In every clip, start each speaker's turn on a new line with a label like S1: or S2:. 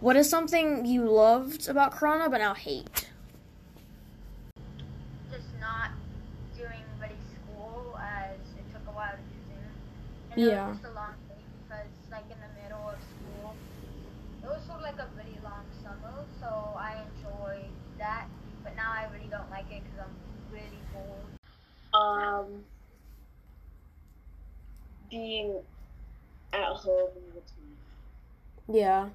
S1: What is something you loved about Corona but now hate?
S2: Just not doing ready school as it took a while to do Zoom. And it
S1: Yeah.
S2: was just a long day because like in the middle of school, it was sort of like a really long summer, so I enjoyed that. But now I really don't like it because I'm really bored.
S3: Um, being at home all the time.
S1: Yeah.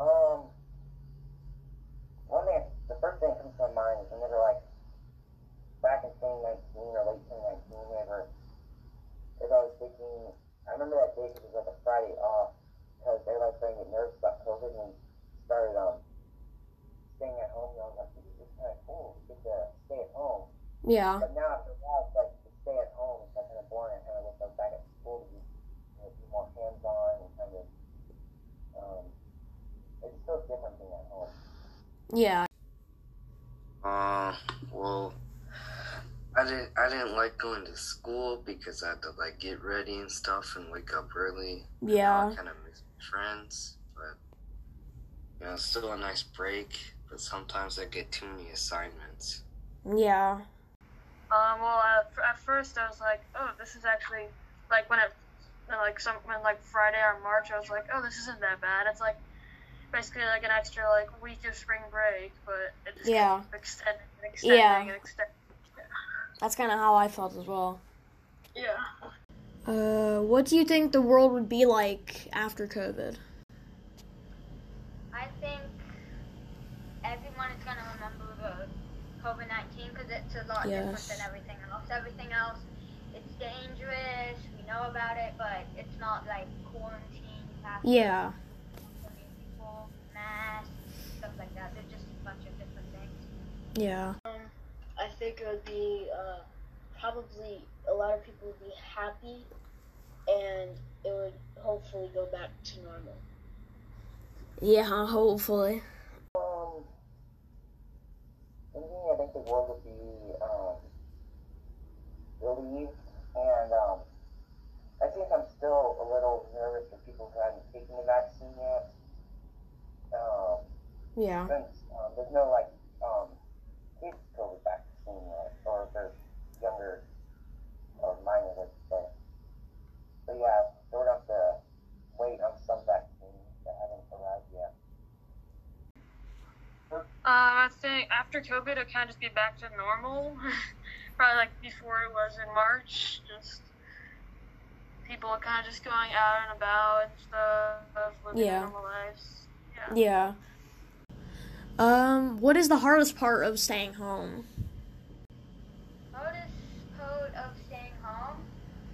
S4: Um, one thing, the first thing that comes to my mind is whenever, like, back in 2019 or late 2019, whenever, if I was thinking, I remember that day 'cause it was like a Friday off, because everybody was starting to get nervous about COVID and started, um, staying at home, and I was like, this is kind of cool, we get to stay at home.
S1: Yeah.
S4: But now after a while, it's like to stay at home is like kind of boring. I kind of wish I was back at school to be, you know, be more hands-on and kind of. Um, it's still different being at home.
S1: Yeah.
S5: Uh, well, I didn't. I didn't like going to school because I had to like get ready and stuff and wake up early.
S1: Yeah.
S5: I kind of miss my friends, but you know, it's still a nice break. But sometimes I get too many assignments.
S1: Yeah.
S6: Um, well, uh, f- at first I was like, oh, this is actually like when it when, like some when like Friday or March I was like, oh, this isn't that bad. It's like basically like an extra like week of spring break, but it just
S1: Yeah.
S6: kept extending and extending
S1: Yeah.
S6: and extending.
S1: That's kind of how I felt as well.
S6: Yeah.
S1: Uh, what do you think the world would be like after COVID?
S2: I think everyone is going to remember the COVID 19 because it's a lot different
S1: Yes.
S2: than everything else. Everything else, it's dangerous, we know about it, but it's not like quarantine. You have to
S1: Yeah.
S2: quarantine people, masks, stuff like that. They're just a bunch of different things.
S1: Yeah.
S3: I think it would be uh, probably a lot of people would be happy, and it would hopefully go back to normal.
S1: Yeah, hopefully.
S4: Um, for me, I think the world would be um, relieved, and um, I think I'm still a little nervous for people who haven't taken the vaccine yet. Um,
S1: Yeah.
S4: since um, there's no like um, kids COVID vaccine yet, or if they're younger or minors, I should say. So yeah, we're gonna have to wait on some vaccines that haven't arrived yet.
S6: Um, I think after COVID it'll kind of just be back to normal, probably like before it was in March. Just people are kind of just going out and about and stuff, living
S1: Yeah.
S6: normal lives. Yeah.
S1: Yeah. Um, what is the hardest part of staying home?
S2: Hardest part of staying home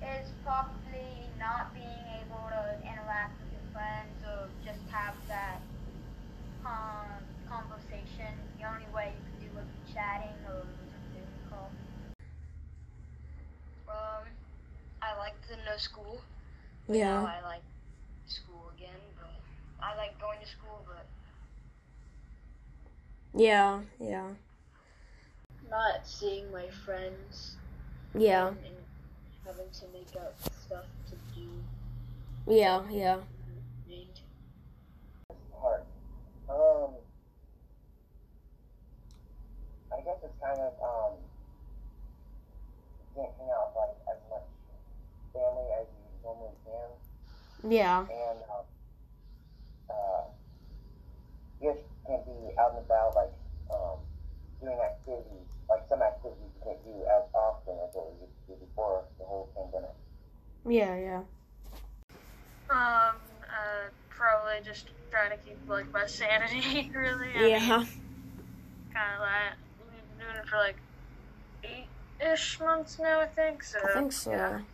S2: is probably not being able to interact with your friends or just have that um, conversation. The only way you can do it is chatting or a Zoom call.
S7: Um, I like the no school. Now I like school again, but I like going to school, but
S1: Yeah. Yeah.
S3: Not seeing my friends
S1: Yeah.
S3: and having to make up stuff to do.
S1: Yeah. Yeah.
S3: and
S4: part. Um, I guess it's kind of um, you can't hang out with like as much family as you normally can,
S1: Yeah.
S4: and um, uh, you just can't be out and about like um, doing activities, like some activities you can't do as often as what we used to do before the whole pandemic.
S1: Yeah. Yeah.
S6: Um, uh, probably just trying to keep like my sanity, really.
S1: Yeah.
S6: Kind of like we've been doing it for like eight ish months now, I think. So
S1: I think so.
S6: yeah.